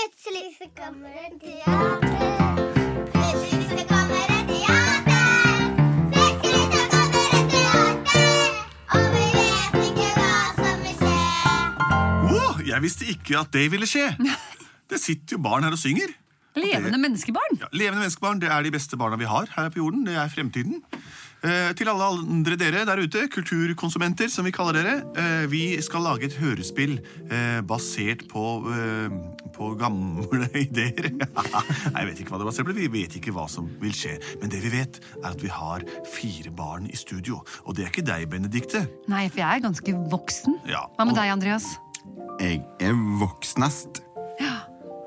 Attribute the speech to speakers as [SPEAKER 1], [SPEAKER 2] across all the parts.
[SPEAKER 1] så kommer det teater. Plutselig så kommer det teater. Plutselig så kommer det teater. Og vi vet ikke hva som vil skje.
[SPEAKER 2] Åh, jeg visste ikke at det ville skje. Det sitter jo barn her og synger.
[SPEAKER 3] Levende menneskebarn.
[SPEAKER 2] Ja, levende menneskebarn det er de beste barna vi har her på jorden. Det er fremtiden. Eh, til alle andre dere der ute, kulturkonsumenter som vi kaller dere, eh, vi skal lage et hørespill eh, basert på, eh, på gamle ideer. Nei, jeg vet ikke hva det er basert på. Vi vet ikke hva som vil skje. Men det vi vet, er at vi har fire barn i studio. Og det er ikke deg, Benedikte.
[SPEAKER 3] Nei, for jeg er ganske voksen.
[SPEAKER 2] Ja,
[SPEAKER 3] Hva med
[SPEAKER 2] og-
[SPEAKER 3] deg, Andreas?
[SPEAKER 4] Jeg er voksnest.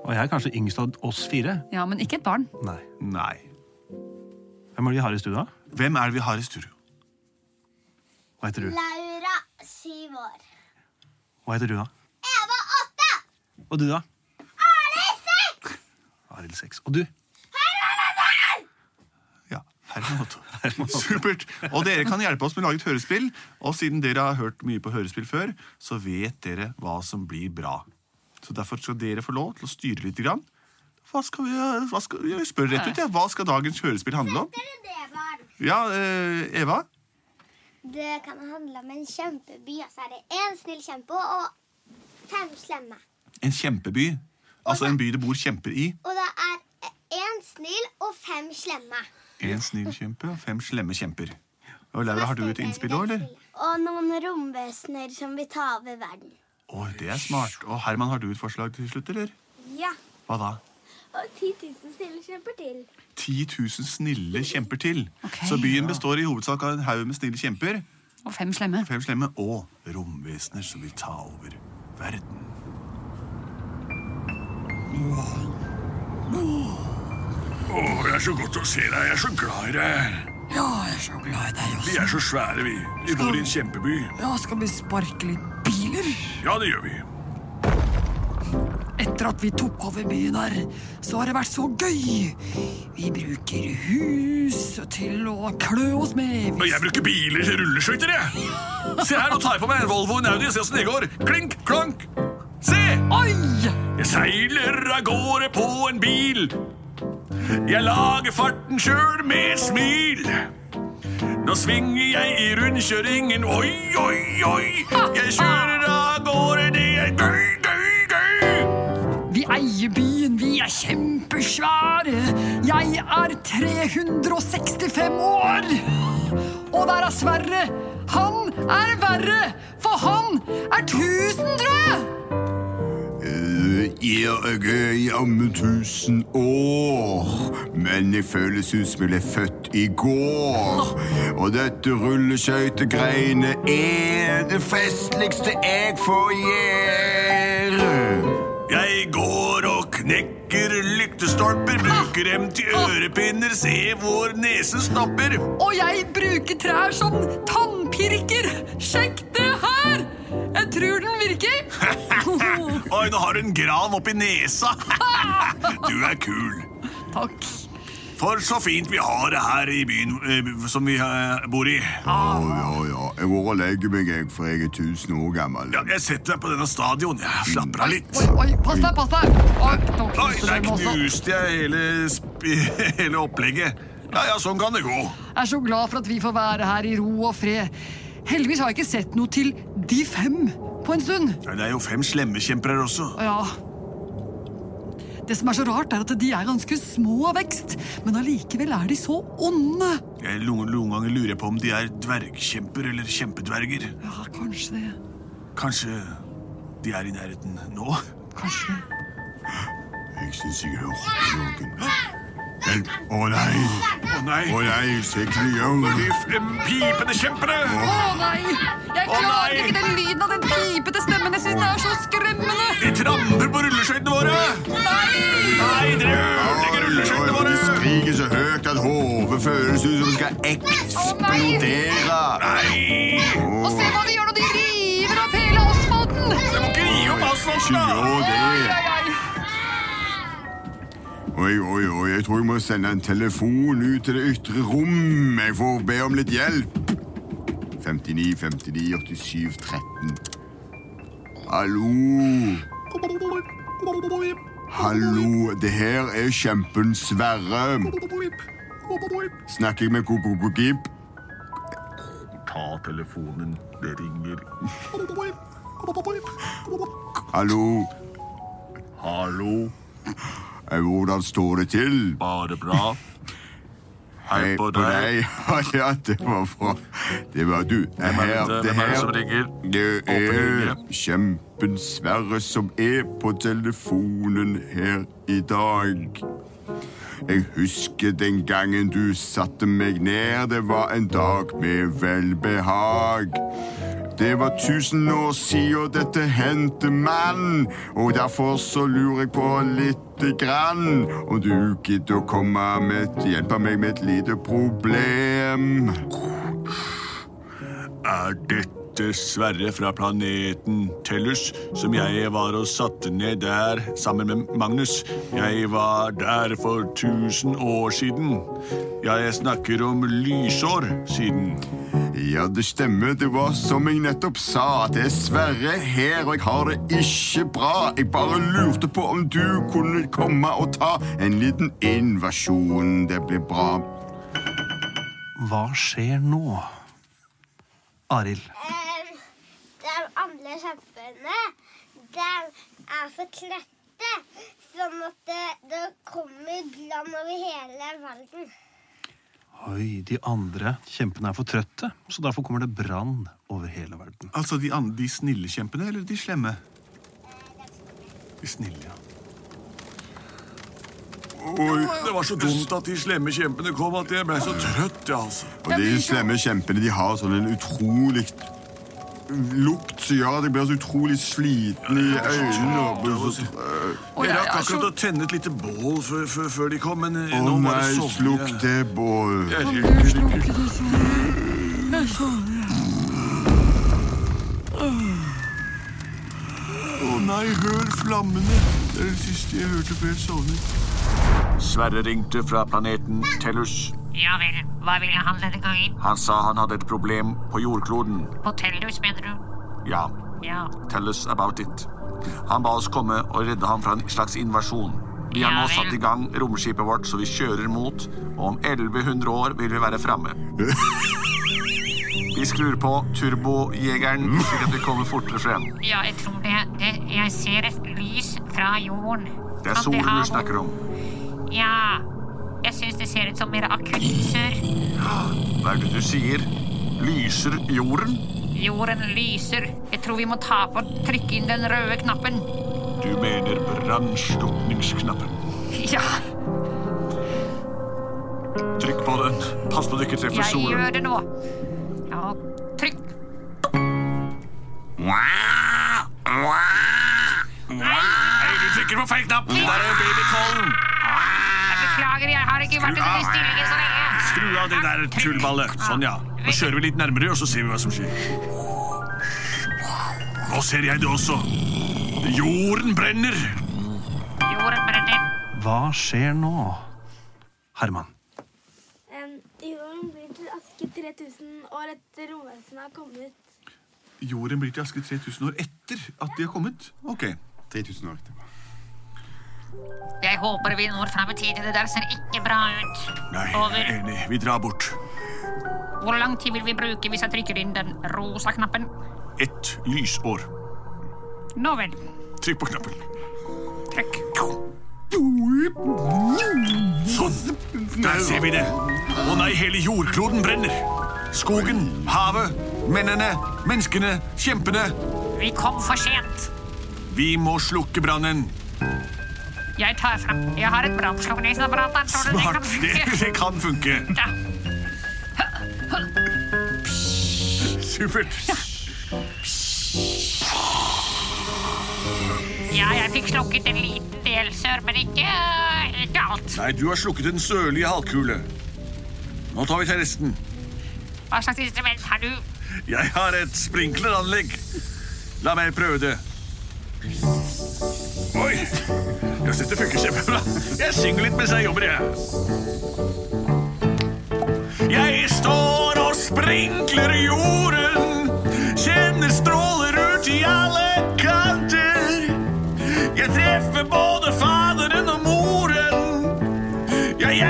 [SPEAKER 5] Og jeg er kanskje yngst av oss fire.
[SPEAKER 3] Ja, men ikke et barn.
[SPEAKER 5] Nei.
[SPEAKER 2] Nei.
[SPEAKER 5] Hvem er det vi har i studio?
[SPEAKER 2] Hvem er det vi har i studio?
[SPEAKER 5] Hva heter du?
[SPEAKER 1] Laura, syv år.
[SPEAKER 5] Hva heter du da?
[SPEAKER 1] Eva, åtte.
[SPEAKER 5] Og du da? Arild 6. Og du?
[SPEAKER 2] Ja, Herman Otto. Supert. Og dere kan hjelpe oss med å lage et hørespill. Og siden dere har hørt mye på hørespill før, så vet dere hva som blir bra. Så derfor skal dere få lov til å styre litt. Grann. Hva skal vi, hva skal, jeg spør rett ut, ja. Hva skal dagens hørespill handle om?
[SPEAKER 1] Dere det, barn.
[SPEAKER 2] Ja, eh, Eva?
[SPEAKER 1] Det kan handle om en kjempeby, og så er det én snill kjempe og fem slemme.
[SPEAKER 2] En kjempeby. Altså en by det bor kjemper i.
[SPEAKER 1] Og det er én snill og fem slemme.
[SPEAKER 2] En snill kjempe og fem slemme kjemper. Og Laura, har du et innspill òg, eller?
[SPEAKER 1] Og noen romvesener som vil ta over verden.
[SPEAKER 2] Å, det er smart. Og Herman, har du et forslag til slutt, eller?
[SPEAKER 1] Ja.
[SPEAKER 2] Hva da?
[SPEAKER 1] Og 10 000 stille kjemper til.
[SPEAKER 2] 10 000 snille kjemper til.
[SPEAKER 3] Ok.
[SPEAKER 2] så byen består i hovedsak av en haug med snille kjemper,
[SPEAKER 3] Og fem slemme.
[SPEAKER 2] fem slemme og romvesener som vil ta over verden.
[SPEAKER 6] Å, det er så godt å se deg. Jeg er så glad i deg.
[SPEAKER 7] Ja, jeg er så glad i deg
[SPEAKER 6] Vi
[SPEAKER 7] også.
[SPEAKER 6] er så svære, vi. Vi bor i en kjempeby.
[SPEAKER 7] Ja, skal vi sparke litt biler?
[SPEAKER 6] Ja, det gjør vi.
[SPEAKER 7] Etter at vi tok over byen her, så har det vært så gøy. Vi bruker hus til å klø oss med.
[SPEAKER 6] Men jeg bruker biler til rulleskøyter, jeg. Se her, nå tar jeg på meg en Volvo og en Audi og ser åssen det går. Klink, klonk. Se!
[SPEAKER 7] Oi!
[SPEAKER 6] Jeg seiler av gårde på en bil. Jeg lager farten sjøl med et smil. Nå svinger jeg i rundkjøringen, oi, oi, oi. Jeg kjører av gårde, det er gøy, gøy, gøy.
[SPEAKER 7] Vi eier byen, vi er kjempesvære. Jeg er 365 år. Og der er Sverre. Han er verre, for han er tusendre!
[SPEAKER 4] Eh, Jeg er jammen tusen år, men jeg føles ut som jeg ble født i går. Og dette rulleskøytegreiene er det festligste jeg får gjøre.
[SPEAKER 6] Jeg går og knekker lyktestolper, bruker dem til ørepinner, se hvor nesen stopper.
[SPEAKER 7] Og jeg bruker trær som tannpirker. Sjekk det her! Jeg tror den virker.
[SPEAKER 6] Oi, nå har du en gran oppi nesa. Du er kul.
[SPEAKER 7] Takk.
[SPEAKER 6] For så fint vi har det her i byen eh, som vi eh, bor i.
[SPEAKER 4] Ja, ja, ja. Jeg går og legger meg, jeg, for jeg er tusen år gammel.
[SPEAKER 6] Ja, jeg setter deg på denne stadion. Jeg slapper av litt.
[SPEAKER 7] Oi, oi, pass deg, pass deg! Oi,
[SPEAKER 6] Oi,
[SPEAKER 7] nå knuser
[SPEAKER 6] der
[SPEAKER 7] den også.
[SPEAKER 6] knuste jeg hele, sp hele opplegget. Ja, ja, sånn kan det gå.
[SPEAKER 7] Jeg er så glad for at vi får være her i ro og fred. Heldigvis har jeg ikke sett noe til de fem på en stund.
[SPEAKER 6] Ja, Det er jo fem slemmekjemper her også.
[SPEAKER 7] Å ja. Det som er så rart, er at de er ganske små av vekst, men allikevel er de så onde.
[SPEAKER 6] Jeg lo- Noen ganger lurer jeg på om de er dvergkjemper eller kjempedverger.
[SPEAKER 7] Ja, kanskje det.
[SPEAKER 6] Kanskje de er i nærheten nå?
[SPEAKER 7] Kanskje det.
[SPEAKER 4] Jeg syns jeg hørte noen. Hjelp! Å nei!
[SPEAKER 6] Å nei!
[SPEAKER 4] Å nei, se hva de gjør.
[SPEAKER 6] De fem pipende kjempene!
[SPEAKER 7] Å nei! Jeg
[SPEAKER 6] Å,
[SPEAKER 7] klarer
[SPEAKER 6] nei!
[SPEAKER 7] ikke den lyden av den pipete stemmen. Jeg syns den er så skremmende.
[SPEAKER 6] De tramper på rulleskøytene våre!
[SPEAKER 7] Nei!
[SPEAKER 6] Nei, dere ødelegger rulleskøytene
[SPEAKER 4] De
[SPEAKER 6] våre!
[SPEAKER 4] skriker så høyt at hodet føles ut som det skal eksplodere.
[SPEAKER 6] Nei!
[SPEAKER 7] Og se hva de gjør når de river opp hele asfalten!
[SPEAKER 6] Dere må ikke gi opp
[SPEAKER 4] Ikke
[SPEAKER 6] asfalten, da!
[SPEAKER 4] gjør det.
[SPEAKER 7] Ai, ai.
[SPEAKER 4] Oi, oi, oi, jeg tror jeg må sende en telefon ut til det ytre rom. Jeg får be om litt hjelp. 59, 59, 87, 13. Hallo? Hallo, det her er kjempen Sverre. Snakker jeg med Kokokokip?
[SPEAKER 6] Ta telefonen, det ringer.
[SPEAKER 4] Hallo,
[SPEAKER 6] Hallo,
[SPEAKER 4] eh, hvordan står det til? Eh,
[SPEAKER 6] bare bra. Hei på deg.
[SPEAKER 4] Ja, det var bra. Det var du. Det
[SPEAKER 6] Hvem er
[SPEAKER 4] her,
[SPEAKER 6] det-
[SPEAKER 4] det
[SPEAKER 6] Hvem er det
[SPEAKER 4] her.
[SPEAKER 6] som ringer?
[SPEAKER 4] Det er kjempen Sverre som er på telefonen her i dag. Jeg husker den gangen du satte meg ned. Det var en dag med velbehag. Det var tusen år siden dette hendte, mann. Og derfor så lurer jeg på lite grann om du gidder å komme med Hjelpe meg med et lite problem.
[SPEAKER 6] Er dette Sverre fra planeten Tellus, som jeg var og satte ned der sammen med Magnus? Jeg var der for tusen år siden. Jeg snakker om lysår siden.
[SPEAKER 4] Ja, det stemmer. Det var som jeg nettopp sa, at det er Sverre her, og jeg har det ikke bra. Jeg bare lurte på om du kunne komme og ta en liten invasjon. Det blir bra.
[SPEAKER 5] Hva skjer nå? Arild.
[SPEAKER 1] Ehm, De andre kjempene, de er så klette, sånn at det, det kommer brann over hele verden.
[SPEAKER 5] Oi, de andre kjempene er for trøtte, så derfor kommer det brann over hele verden.
[SPEAKER 2] Altså de, an- de snille kjempene eller de slemme? De snille, ja.
[SPEAKER 6] Oi, det var så dumt at de slemme kjempene kom at jeg ble så trøtt, jeg, altså.
[SPEAKER 4] Og de slemme kjempene de har sånn en utrolig lukt som gjør at jeg blir så utrolig sliten i øynene. og blir så trøtt.
[SPEAKER 7] Og
[SPEAKER 6] Jeg
[SPEAKER 7] jeg
[SPEAKER 6] rakk
[SPEAKER 7] er så
[SPEAKER 6] akkurat å tenne et lite bål før, før, før de kom, men eh,
[SPEAKER 4] Å
[SPEAKER 6] nå må
[SPEAKER 4] nei,
[SPEAKER 6] jeg sovne.
[SPEAKER 4] slukk det, Bård.
[SPEAKER 6] Jeg
[SPEAKER 7] Kan
[SPEAKER 6] rykker
[SPEAKER 7] du
[SPEAKER 6] litt.
[SPEAKER 7] slukke det så? Jeg sovner.
[SPEAKER 2] Å nei, hør flammene! Det er det siste jeg hørte før jeg sovnet.
[SPEAKER 6] Sverre ringte fra planeten Tellus.
[SPEAKER 8] Ja vel, hva ville han denne gangen?
[SPEAKER 6] Han sa han hadde et problem på jordkloden.
[SPEAKER 8] På Tellus, mener du?
[SPEAKER 6] Ja,
[SPEAKER 8] Ja.
[SPEAKER 6] tell us about it. Han ba oss komme og redde ham fra en slags invasjon. Vi har
[SPEAKER 8] Ja
[SPEAKER 6] nå
[SPEAKER 8] vel.
[SPEAKER 6] satt i gang romskipet vårt, så vi kjører mot, og om 1100 år vil vi være framme. Vi skrur på turbojegeren, slik at vi kommer fortere frem.
[SPEAKER 8] Ja, jeg tror det. det jeg ser et lys fra jorden.
[SPEAKER 6] Det er solen du snakker om.
[SPEAKER 8] Ja. Jeg syns det ser ut som mer akutt surr.
[SPEAKER 6] Hva er det du sier? Lyser jorden?
[SPEAKER 8] Jorden lyser. Jeg tror vi må ta på trykke inn den røde knappen.
[SPEAKER 6] Du mener brannslukningsknappen.
[SPEAKER 8] Ja,
[SPEAKER 6] Trykk på den. Pass på du ikke treffer
[SPEAKER 8] jeg
[SPEAKER 6] solen.
[SPEAKER 8] gjør det nå. Ja, trykk.
[SPEAKER 6] Nei, du trykker på feil knapp. Der er babykollen.
[SPEAKER 8] Beklager, jeg har ikke vært i denne stillingen så lenge.
[SPEAKER 6] Skru av det der tullballet. Sånn, ja. Nå kjører vi litt nærmere, og så ser vi hva som skjer. Nå ser jeg det også. Jorden brenner.
[SPEAKER 8] Jorden brenner.
[SPEAKER 5] Hva skjer nå? Herman.
[SPEAKER 9] Em, Jorden blir til aske 3000 år etter romvesenet har kommet.
[SPEAKER 2] Jorden blir til aske 3000 år etter at de har kommet. Ok.
[SPEAKER 4] 3000 år etterpå.
[SPEAKER 8] Jeg håper vi når frem i tide. Det der ser ikke bra ut.
[SPEAKER 6] Nei, jeg
[SPEAKER 8] Over.
[SPEAKER 6] er enig. Vi drar bort.
[SPEAKER 8] Hvor lang tid vil vi bruke hvis jeg trykker inn den rosa knappen?
[SPEAKER 6] Ett lysår.
[SPEAKER 8] Nå vel.
[SPEAKER 6] Trykk på knappen.
[SPEAKER 8] Trykk.
[SPEAKER 6] Sånn. Der ser vi det. Å nei, hele jordkloden brenner. Skogen, havet, mennene, menneskene, kjempene.
[SPEAKER 8] Vi kom for sent.
[SPEAKER 6] Vi må slukke brannen.
[SPEAKER 8] Jeg tar frem. Jeg har et brannslukningsapparat. der, tror du det kan
[SPEAKER 6] Smart. Det,
[SPEAKER 8] funke?
[SPEAKER 6] det kan funke.
[SPEAKER 8] Ja.
[SPEAKER 6] Supert.
[SPEAKER 8] ja, jeg fikk slukket en liten del sør, men ikke, ikke alt.
[SPEAKER 6] Nei, du har slukket den sørlige halvkule. Nå tar vi til resten.
[SPEAKER 8] Hva slags instrument har du?
[SPEAKER 6] Jeg har et sprinkleranlegg. La meg prøve det. Oi! Jeg synes det funker kjempebra. Jeg synger litt mens jeg jobber, jeg. Jeg står og sprinkler jorden. Kjenner stråler ut i alle kanter. Jeg treffer både far Oh!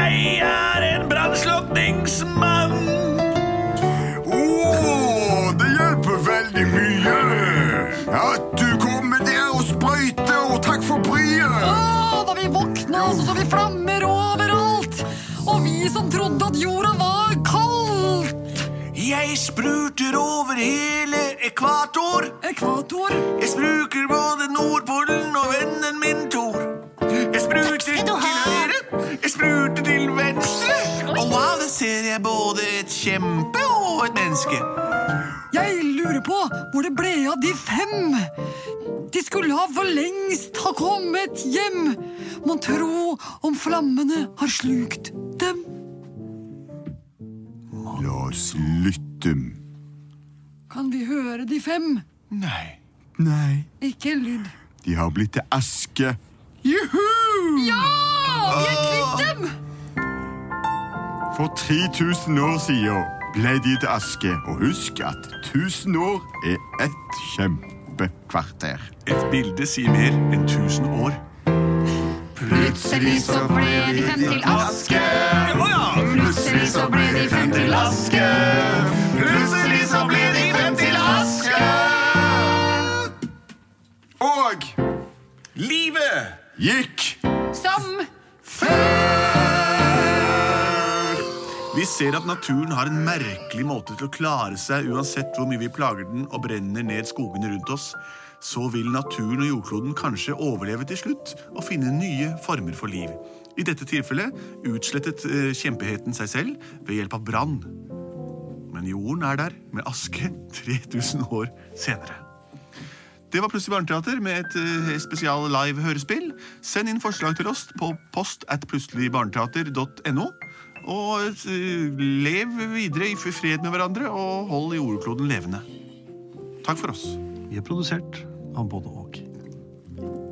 [SPEAKER 4] mye!
[SPEAKER 7] Å, da vi våkna, så så vi flammer overalt. Og vi som trodde at jorda var kald.
[SPEAKER 10] Jeg spruter over hele ekvator.
[SPEAKER 7] Ekvator.
[SPEAKER 10] Jeg spruker både Nordpolen og vennen min Tor. Jeg spruter til høyre, jeg spruter til venstre. Og wow, der ser jeg både et kjempe og et menneske.
[SPEAKER 7] Jeg lurer på hvor det ble av de fem. De skulle ha for lengst ha kommet hjem. Mon tro om flammene har slukt dem.
[SPEAKER 4] La oss lytte.
[SPEAKER 7] Kan vi høre de fem?
[SPEAKER 6] Nei.
[SPEAKER 4] Nei.
[SPEAKER 7] Ikke en lyd.
[SPEAKER 4] De har blitt til aske.
[SPEAKER 7] Ja! Vi er kvitt dem!
[SPEAKER 4] For 3000 år siden ble de til aske. Og husk at 1000 år er ett kjempekvarter.
[SPEAKER 6] Et bilde sier mer enn 1000 år.
[SPEAKER 3] Plutselig så ble de fem til aske. Plutselig så ble de fem til aske.
[SPEAKER 4] Plutselig så ble de fem til aske. Og
[SPEAKER 10] Livet!
[SPEAKER 4] gikk
[SPEAKER 3] Som
[SPEAKER 6] Vi ser at naturen har en merkelig måte til å klare seg uansett hvor mye vi plager den og brenner ned skogene rundt oss. Så vil naturen og jordkloden kanskje overleve til slutt og finne nye former for liv. I dette tilfellet utslettet eh, kjempeheten seg selv ved hjelp av brann. Men jorden er der med aske 3000 år senere. Det var Plutselig barneteater med et eh, spesial live hørespill. Send inn forslag til oss på post at plutseligbarneteater.no. Og eh, lev videre i f- fred med hverandre, og hold jordkloden levende. Takk for oss.
[SPEAKER 5] Vi er produsert av både og.